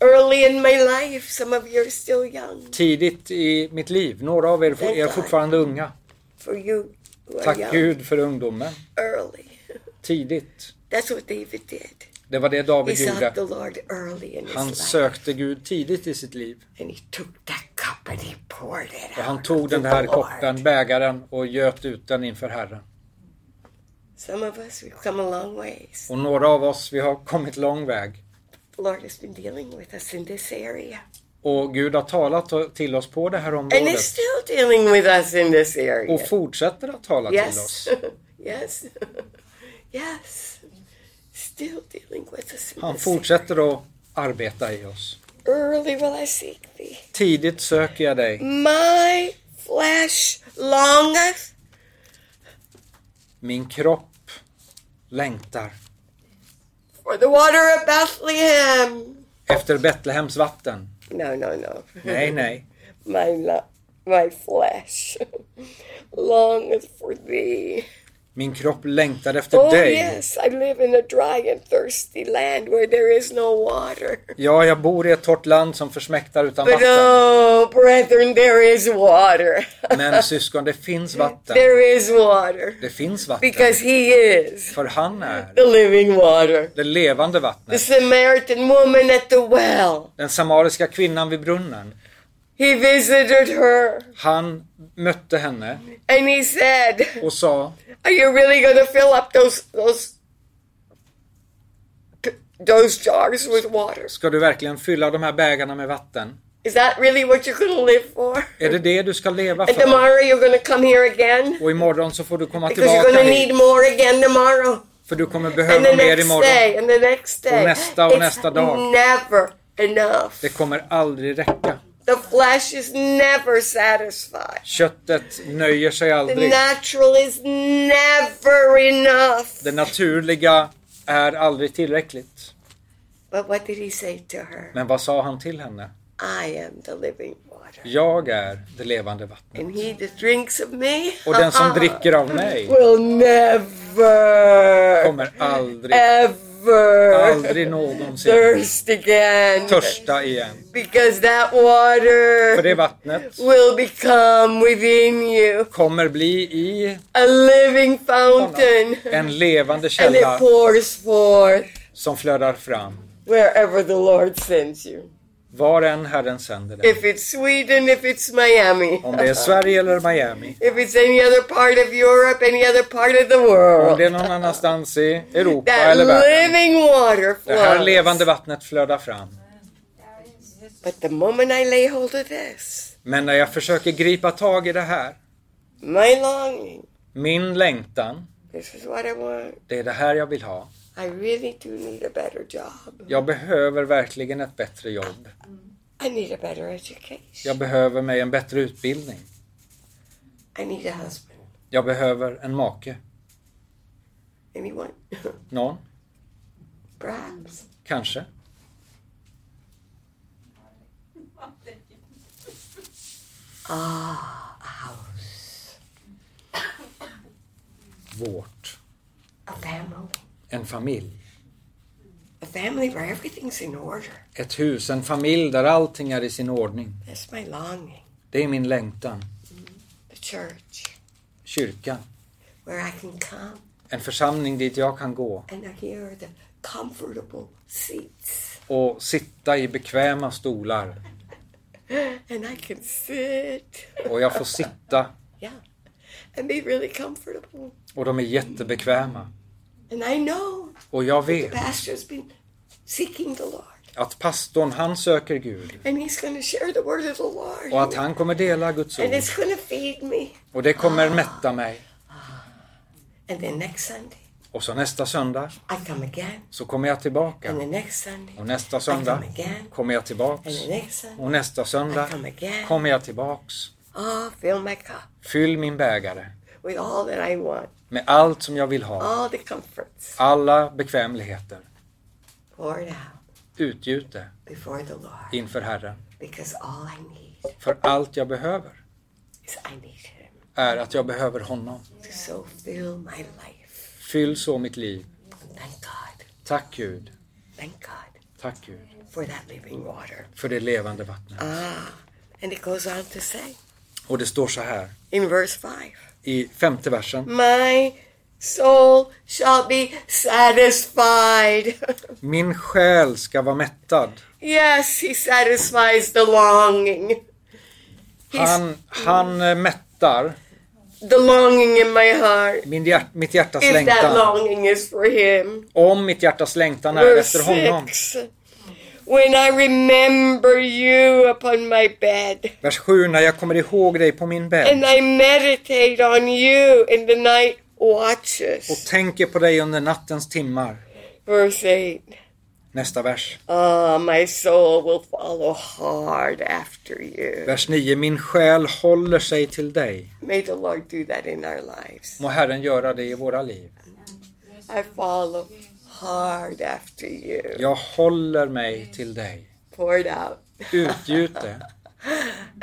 Early in my life, some of you are still young. Tidigt i mitt liv. Några av er fo- är fortfarande unga. For you who are Tack young, Gud för ungdomen. early. Tidigt. That's what David did. Det var det He David sought gjorde. the Lord early in his Han life. sökte Gud tidigt i sitt liv. And he took that cup and he poured it Och out. han tog den to här the Lord. koppen, bägaren och göt ut den inför Herren. Some of us, we've come a long ways. Och några av oss, vi har kommit lång väg. The Lord has been dealing with us in this area. Och Gud har talat to- till oss på det här And he's området. still dealing with us in this area. Och fortsätter att tala till yes. oss. yes. yes. Still dealing with us in Han this area. fortsätter att arbeta i oss. Early will I seek thee. Tidigt söker jag dig. My flesh longeth. Min kropp längtar For the water of Bethlehem. efter Betlehems vatten. No, no, no. Nej, nej. my lo- my flesh longeth for thee. Min kropp längtar efter Oh dig. yes, I live in a dry and thirsty land where there is no water. Ja, jag bor i ett torrt land som försmäktar utan But vatten. oh, brethren, there is water. Men syskon, det finns vatten. there is water Det finns vatten. because He is För han är the living water. det levande The vattnet. Samaritan woman at the well. Den samariska kvinnan vid brunnen. He visited her Han mötte henne and he said, och sa "Are you really going to fill up those those those jars with water?" Ska du verkligen fylla de här bägarna med vatten? Is that really what you're going to live for? Är det det du ska leva And för? tomorrow you're going to come here again? Och imorgon så får du komma Because you're tillbaka going to need hit, more again tomorrow. för du kommer And behöva the mer next imorgon. day, and the next day. nästa och It's nästa dag. never enough. Det kommer aldrig räcka. The flesh is never satisfied. Köttet nöjer sig The aldrig. natural is never enough. Det naturliga är aldrig tillräckligt. But what did he say to her? Men vad sa han till henne? I am the living water. Jag är det levande vattnet. And he that drinks of me Och den Ah. som dricker av mig will never, kommer aldrig, ever aldrig någonsin thirst again. törsta igen. Because that För det water vattnet will become within you kommer bli i a living fountain. en levande And it källa pours forth som flödar fram. wherever the Lord sends you. Var än Herren sänder dig. If it's Sweden, if it's Miami, Om det är Sverige eller Miami. if it's any other part of Europe, any other part of the Om world, det er är någon annanstans i Europa that eller världen. living water er Det här flows. levande vattnet flödar fram. But the moment I lay hold of this, Men när jag försöker gripa tag i det här, my longing, min längtan, this is what I want. det är det här jag vill ha. I really do need a better job. Jag behöver verkligen ett bättre jobb. I need a better education. Jag behöver mig en bättre utbildning. I need a husband. Jag behöver en make. Anyone? Någon, Perhaps. kanske. Ah, a house. Vårt. A family. En familj. A family where everything's in order. Ett hus, en familj där allting är i sin ordning. That's my longing. Det är min längtan. The church Kyrkan. where I can come En församling dit jag kan gå and I hear the comfortable seats. och sitta i bekväma stolar. And I can sit Och jag får sitta and be really comfortable. och de är jättebekväma. And I know Och jag the vet pastor's been seeking the Lord. att pastorn, han söker Gud. And he's going to share the word of the Lord. Och att han kommer dela Guds and ord. it's going to feed me. Och det kommer mätta mig. And then next Sunday, Och så nästa söndag I come again. så kommer jag tillbaka. And the next Sunday, Och nästa söndag kommer jag tillbaks. and the next Sunday, Och nästa I söndag come again. kommer jag tillbaks. Ah, fill my cup Fyll min bägare with all that I want, med allt som jag vill ha, all the comforts. alla bekvämligheter. Pour it out Utgjut det before the Lord, inför Herren. because all I need För allt jag behöver is I need Him är att jag behöver honom. to so fill my life. Fyll så mitt liv. Thank God, Tack Gud, thank God tack Gud, for that living water. för det levande vattnet. Ah, and it goes on to say Och det står så här in verse 5 i femte versen. My soul shall be satisfied. Min själ ska vara mättad. yes, He satisfies the longing. He's Han, han eh, mättar the longing in my heart. min hjärt, mitt hjärtas If that längtan. longing is for him. Om mitt hjärtas längtan är Verse efter honom. 6. When I remember you upon my bed, Vers 7. När jag kommer ihåg dig på min bädd and I meditate on you in the night och watches. tänker på dig under nattens timmar. Verse 8. Nästa vers. Ah, my soul will follow hard after you. Vers 9. Min själ håller sig till dig. May the Lord do that in our lives. Må Herren göra det i våra liv. I follow hard after you. Jag håller mig till dig. Pour it out. Utgjut det.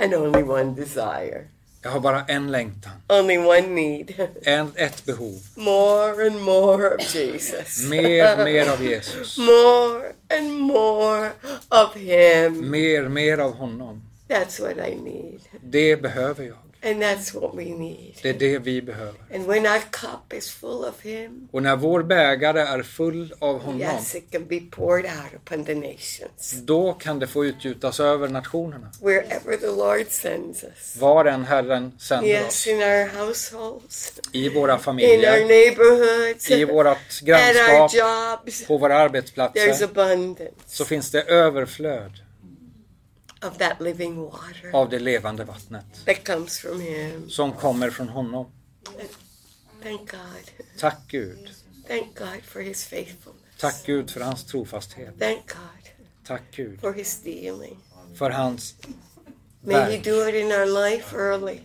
And only one desire, Jag har bara en längtan. only one need. En, ett behov. More and more of Jesus. Mer, mer av Jesus. More and more of Him. Mer, mer av honom. That's what I need. Det behöver jag. And that's what we need. Det är det vi behöver. And when our cup is full of Him, Och när vår bägare är full av honom, yes, it can be poured out upon the nations. då kan det få utgjutas över nationerna. Wherever the Lord sends us. Var än Herren sänder Yes, oss. in our households, I våra in our familjer, neighborhoods, i vårt at our grannskap, jobs. på våra There's arbetsplatser, abundance så finns det överflöd of that living water av det levande vattnet that comes from Him. som kommer från honom. Thank God. Tack Gud. Thank God for His faithfulness. Tack Gud för hans trofasthet. Thank God Tack Gud for His dealing. för hans May He verk. do it in our life early.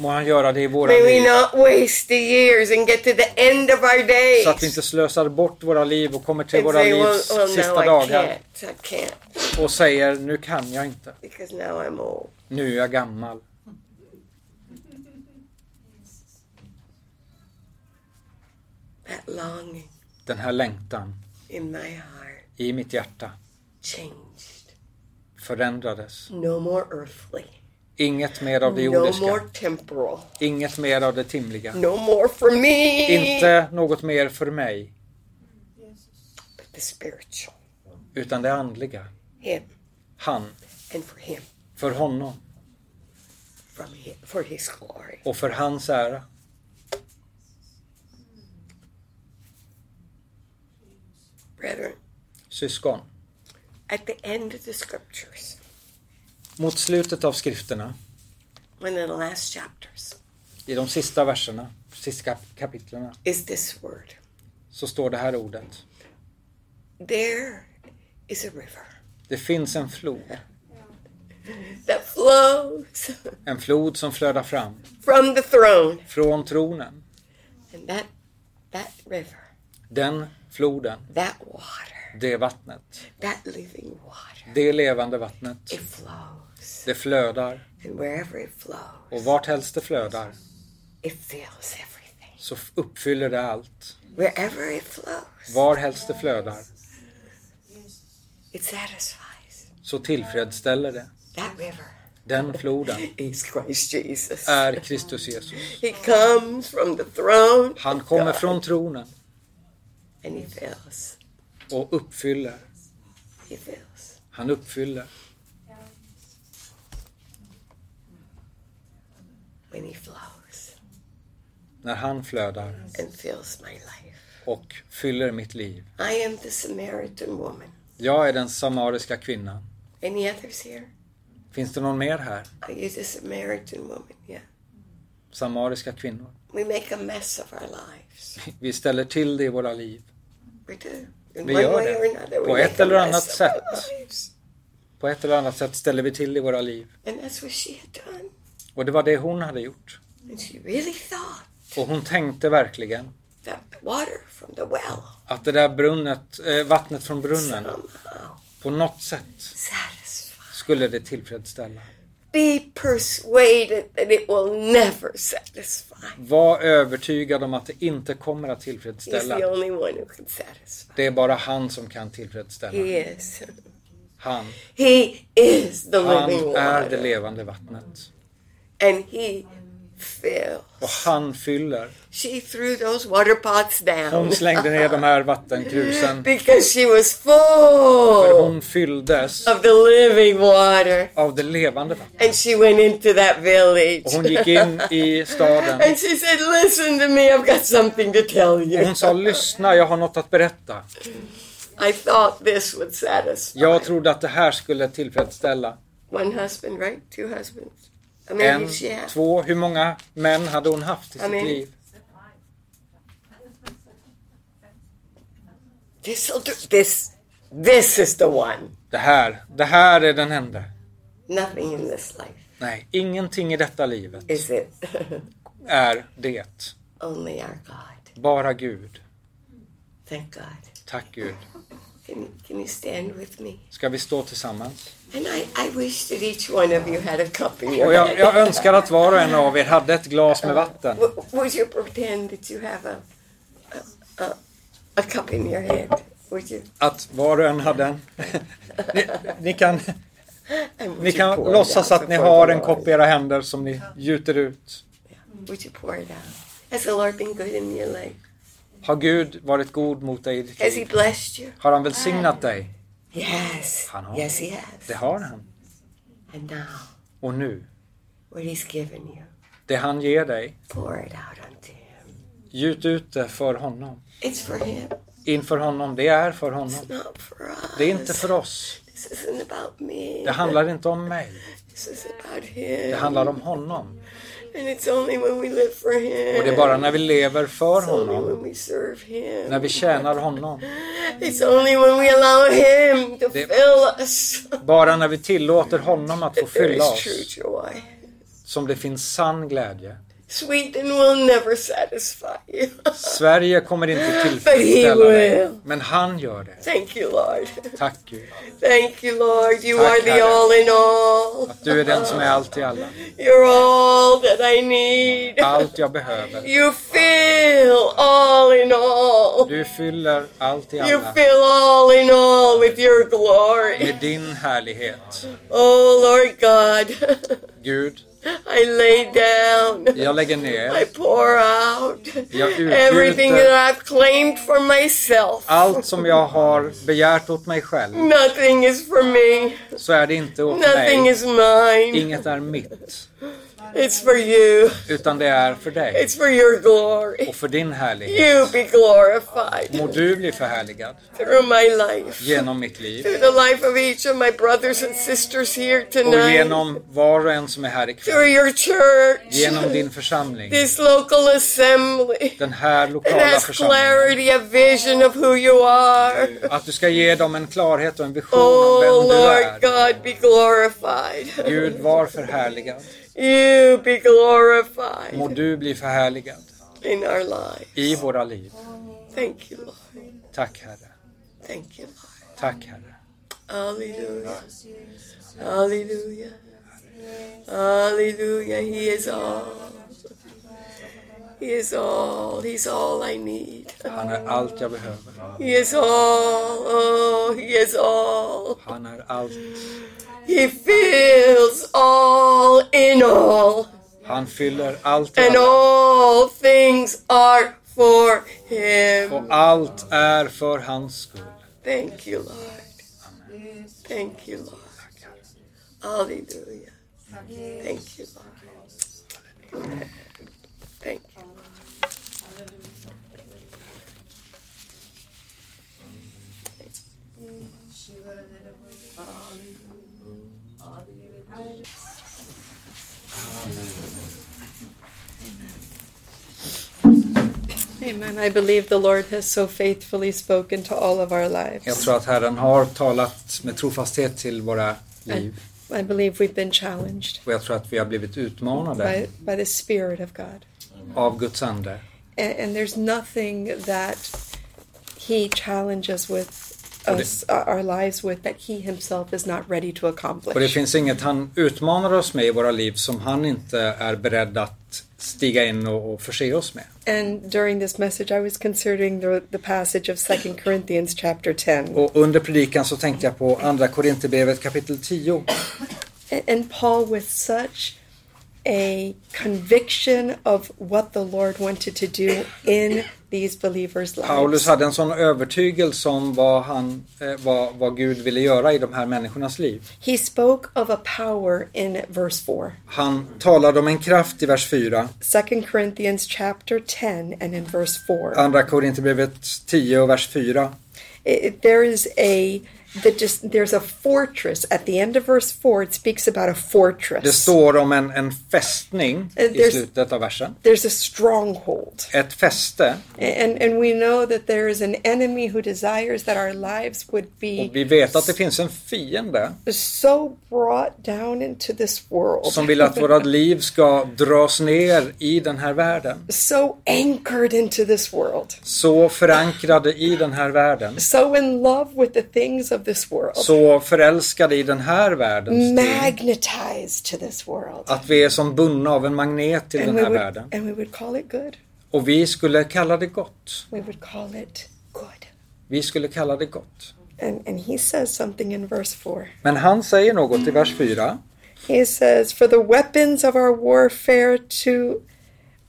Må han göra det i våra May we liv. not waste the years and get to the end of our days Så att vi inte slösar bort våra liv och kommer till and våra say, well, livs well no, sista I dagar can't. I can't och säger nu kan jag inte, because now I'm old. nu är jag gammal. That longing Den här längtan in my heart i mitt hjärta changed. förändrades. No more earthly. Inget mer av det No more jordiska, temporal. inget mer av det timliga. No more for me. Inte något mer för mig, But the spiritual. utan det andliga. Him Han, and for Him. för honom From him, for His glory. och för hans ära. Brethren, Syskon, at the end of the scriptures, mot slutet av skrifterna, one of the last chapters, i de sista verserna, sista kap- kapitlerna, is this word. så står det här ordet. There is a river Det finns en flod, that flows en flod som flödar fram from the throne. från tronen. And that that river, Den floden, that water, det vattnet, that living water, det levande vattnet, it flows. det flödar And wherever it flows, och vart helst det flödar it fills everything. så f- uppfyller det allt. Wherever it flows, Var helst det flödar it satisfies. så tillfredsställer det. That river Den floden is Christ Jesus. är Kristus Jesus. He comes from the throne Han kommer från tronen and he fills. och uppfyller. He fills. Han uppfyller. When he flows När han flödar and fills my life. och fyller mitt liv. I am the Samaritan woman. Jag är den samariska kvinnan. Any others here? Finns det någon mer här? Are you the Samaritan woman? Yeah. Samariska kvinnor. We make a mess of our lives. Vi ställer till det i våra liv. We do. In Vi one gör way det. or another, we På make ett a eller annat mess of our sätt. lives. På ett eller annat sätt ställer vi till i våra liv. And that's what she had done. Och det var det hon hade gjort. And she really thought Och hon tänkte verkligen that the water from the well att det där brunnet, eh, vattnet från brunnen somehow på något sätt satisfied. skulle det tillfredsställa. Be persuaded that it will never satisfy. Var övertygad om att det inte kommer att He's the tillfredsställa. only one who can satisfy. Det är bara han som kan tillfredsställa. He is. Han. He is the living Han är det water. levande vattnet. And he fills. Och han fyller. She threw those water pots down Hon slängde ner de här vattenkrusen. because she was För full hon fylldes of the living water. av det levande vattnet. And she went into that village. Och hon gick in i staden. And she said, Listen to me, I've got something to tell Och you. hon sa lyssna, jag har något att berätta. I thought this would satisfy. Jag trodde att det här skulle tillfredsställa. One husband, right? Two husbands. I mean, En, she had. två, hur många män hade hon haft i Ja, sitt men- liv? This, will do, this, this is the one. Det här, det här är den enda. Nothing in this life Nej, ingenting i detta livet is it. är det. Only our God. Bara Gud. Thank God. Tack Gud. Can, can you stand with me? Ska vi stå tillsammans? And I, I wish that each one of you had a cup in Och your jag, hand. jag önskar att var och en av er hade ett glas med vatten. W- Would you pretend that you have a, a, a, a cup in your hand? Would you? Att var och en hade en. Ni, ni kan, And would ni you kan pour it låtsas out att ni before har the en Lord? kopp i era händer som ni gjuter ut. Would you pour it out? Has the Lord been good in your life? Har Gud varit god mot dig i ditt Has He liv? blessed you? Har han välsignat dig? Yes. Han har. Yes, He Det has. har han. And now, Och nu, what He's given you, det han ger dig, pour it out unto Him. gjut ut det för honom. It's for Him. Inför honom, det är för honom. It's not for us. Det är inte för oss. This isn't about me. Det handlar inte om mig. This is about Det Him. handlar om honom. And it's only when we live for Him. Och det är bara när vi lever för It's only honom, when we serve Him. när vi tjänar honom, It's only when we allow Him to Det- fill us. bara när vi tillåter honom att få There fylla is true oss, joy. som det finns sann glädje. Sweden will never satisfy you. Sverige kommer inte But tillfredsställa he dig, will. men han gör det. Thank you, Lord. Tack Gud, Thank you, Lord. You Tack, are the Herre. all in all. att du är den som är allt i alla. You're all that I need. Allt jag behöver. You fill all in all. Du fyller allt i You alla fill all in all with your med glory. din härlighet. Oh, Lord God, Gud, I lay down. jag lägger I ner pour out Jag utgjuter- everything that I've claimed for myself. allt som jag har begärt åt mig själv, Nothing is for me. så är det inte åt Nothing mig. is mine. Inget är mitt, It's for you. utan det är för dig It's for your glory. och för din härlighet. You be glorified Må du bli förhärligad through my life, genom mitt liv through the life of each of my brothers and sisters here och tonight, genom var och en som är här through ikväll. your church, Genom din församling, this local assembly. den här That lokala has församlingen. clarity, a vision of who you are. Att du ska ge dem en klarhet och en vision om Oh, vem du Lord är. God, be glorified. Gud, var förhärligad. You be Må glorified du bli förhärligad in our lives. i våra liv. Thank you, Lord. Tack Herre. Thank you, Lord. Tack Herre. Hallelujah. Hallelujah. Hallelujah. He is all. He is all. He's all I need. Han är allt jag behöver. He is all. Oh, he is all. Han är allt. He fills all in all. Han fyller allt i And alla. all things are for him. Och allt är för hans skull. Thank you, Lord. Thank you, Lord. Hallelujah. Thank you, Lord. Thank you. Amen. I believe the Lord has so faithfully spoken to all of our lives. Jag tror att Herren har talat med trofasthet till våra liv. I believe we've been challenged Och jag tror att vi har blivit utmanade by, by the Spirit of God. av Guds ande. And, and there's nothing that He challenges with us, uh, our lives with, that He Himself is not ready to Och det accomplish. finns inget han utmanar oss med i våra liv som han inte är beredd att stiga in och, och förse oss med. And during this message, I was considering the, the passage of 2 Corinthians chapter 10. Och under predikan så tänkte jag på Andra Korinthierbrevet kapitel 10. And, and Paul, with such a conviction of what the Lord wanted to do in these believers' Paulus lives, hade en sån övertygelse om vad, han, eh, vad, vad Gud ville göra i de här människornas liv. he spoke of a power in verse 4. Han talade om en kraft i vers 4, 2 Corinthians chapter 10 and in verse 4. Andra Korinthierbrevet 10 och vers 4. It- there is a the just there's a fortress at the end of verse 4 it speaks about a Det fortress. står om en, en fästning Eh, i there's- slutet av versen. There's a stronghold. Ett fäste. And and we know that there is an enemy who desires that our lives would Och be vi vet att det finns en fiende so brought down into this world. som vill att våra liv ska dras ner i den här världen. So anchored into this world. Så förankrade i den här världen. So in love with the things of this world. Så förälskade i den här världens ting. Magnetized to this world. Att vi är som bundna av en magnet till And den we här would, världen. and we would call it good. Och vi skulle kalla det gott. we would call it good. Vi skulle kalla det gott. And, and he says something in verse 4. Men han säger något i vers 4. He says, For the weapons of our warfare to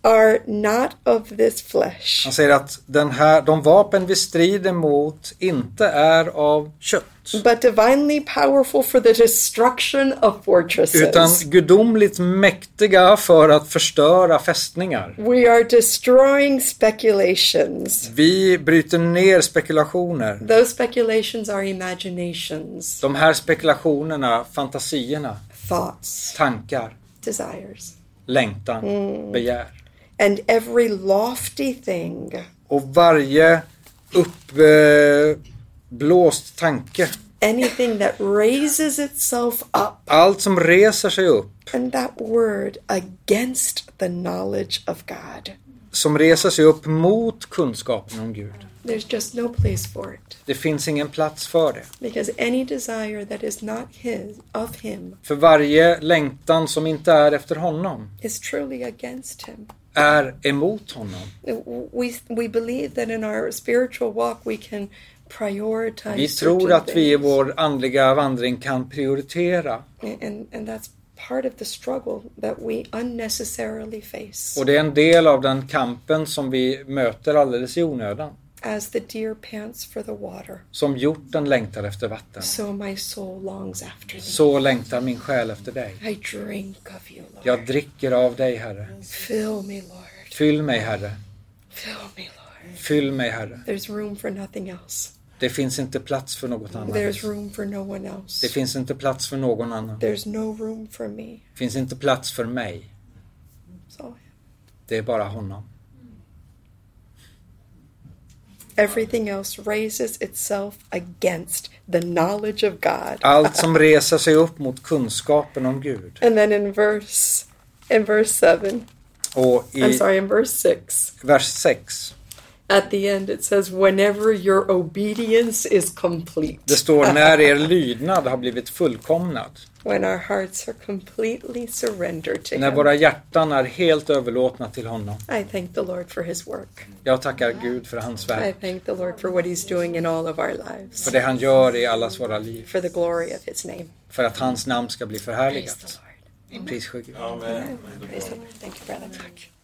are not of this flesh. Han säger att den här, de vapen vi strider mot inte är av kött. But divinely powerful for the destruction of fortresses. Utan gudomligt mäktiga för att förstöra fästningar. we are destroying speculations. Vi bryter ner spekulationer. Those speculations are imaginations, De här spekulationerna, fantasierna, thoughts, tankar, desires, längtan, begär. and every lofty thing Och varje uppblåst eh, blåst tanke. anything that raises itself up, Allt som reser sig upp, and that word against the knowledge of God. som reser sig upp mot kunskapen om Gud. There's just no place for it Det finns ingen plats för det. because any desire that is not his of him För varje längtan som inte är efter honom is truly against him. är emot honom. We we believe that in our spiritual walk we can prioritize Vi tror certain att vi i things. vår andliga vandring kan prioritera and and that's part of the struggle that we unnecessarily face Och det är en del av den kampen som vi möter alldeles i onödan. as the deer pants for the water. Som hjorten längtar efter vatten. So my soul longs after thee. Så längtar min själ efter dig. I drink of you, Lord. Jag dricker av dig, Herre. Fill me, Lord. Fyll mig, Herre. Fill me, Lord. Fyll mig, Herre. There's room for nothing else. Det finns inte plats för något annat. There's room for no one else. Det finns inte plats för någon annan. There's no room for me. Det finns inte plats för mig. So Det är bara honom. everything else raises itself against the knowledge of God. Allt som reser sig upp mot kunskapen om Gud. And then in verse in verse 7, Och I'm i sorry, in verse 6, vers 6, at the end it says whenever your obedience is complete. det står när er lydnad har blivit fullkomnad. when our hearts are completely surrendered to När him. våra hjärtan är helt överlåtna till honom. I thank the Lord for his work. Jag tackar Gud för hans I verk, thank the Lord for what He's doing in all of our för lives, det han gör i allas våra liv, for the glory of His name. för att hans namn ska bli Praise the förhärligat. Lord. Prissjuk. Amen. Praise the Lord. Thank you, brother.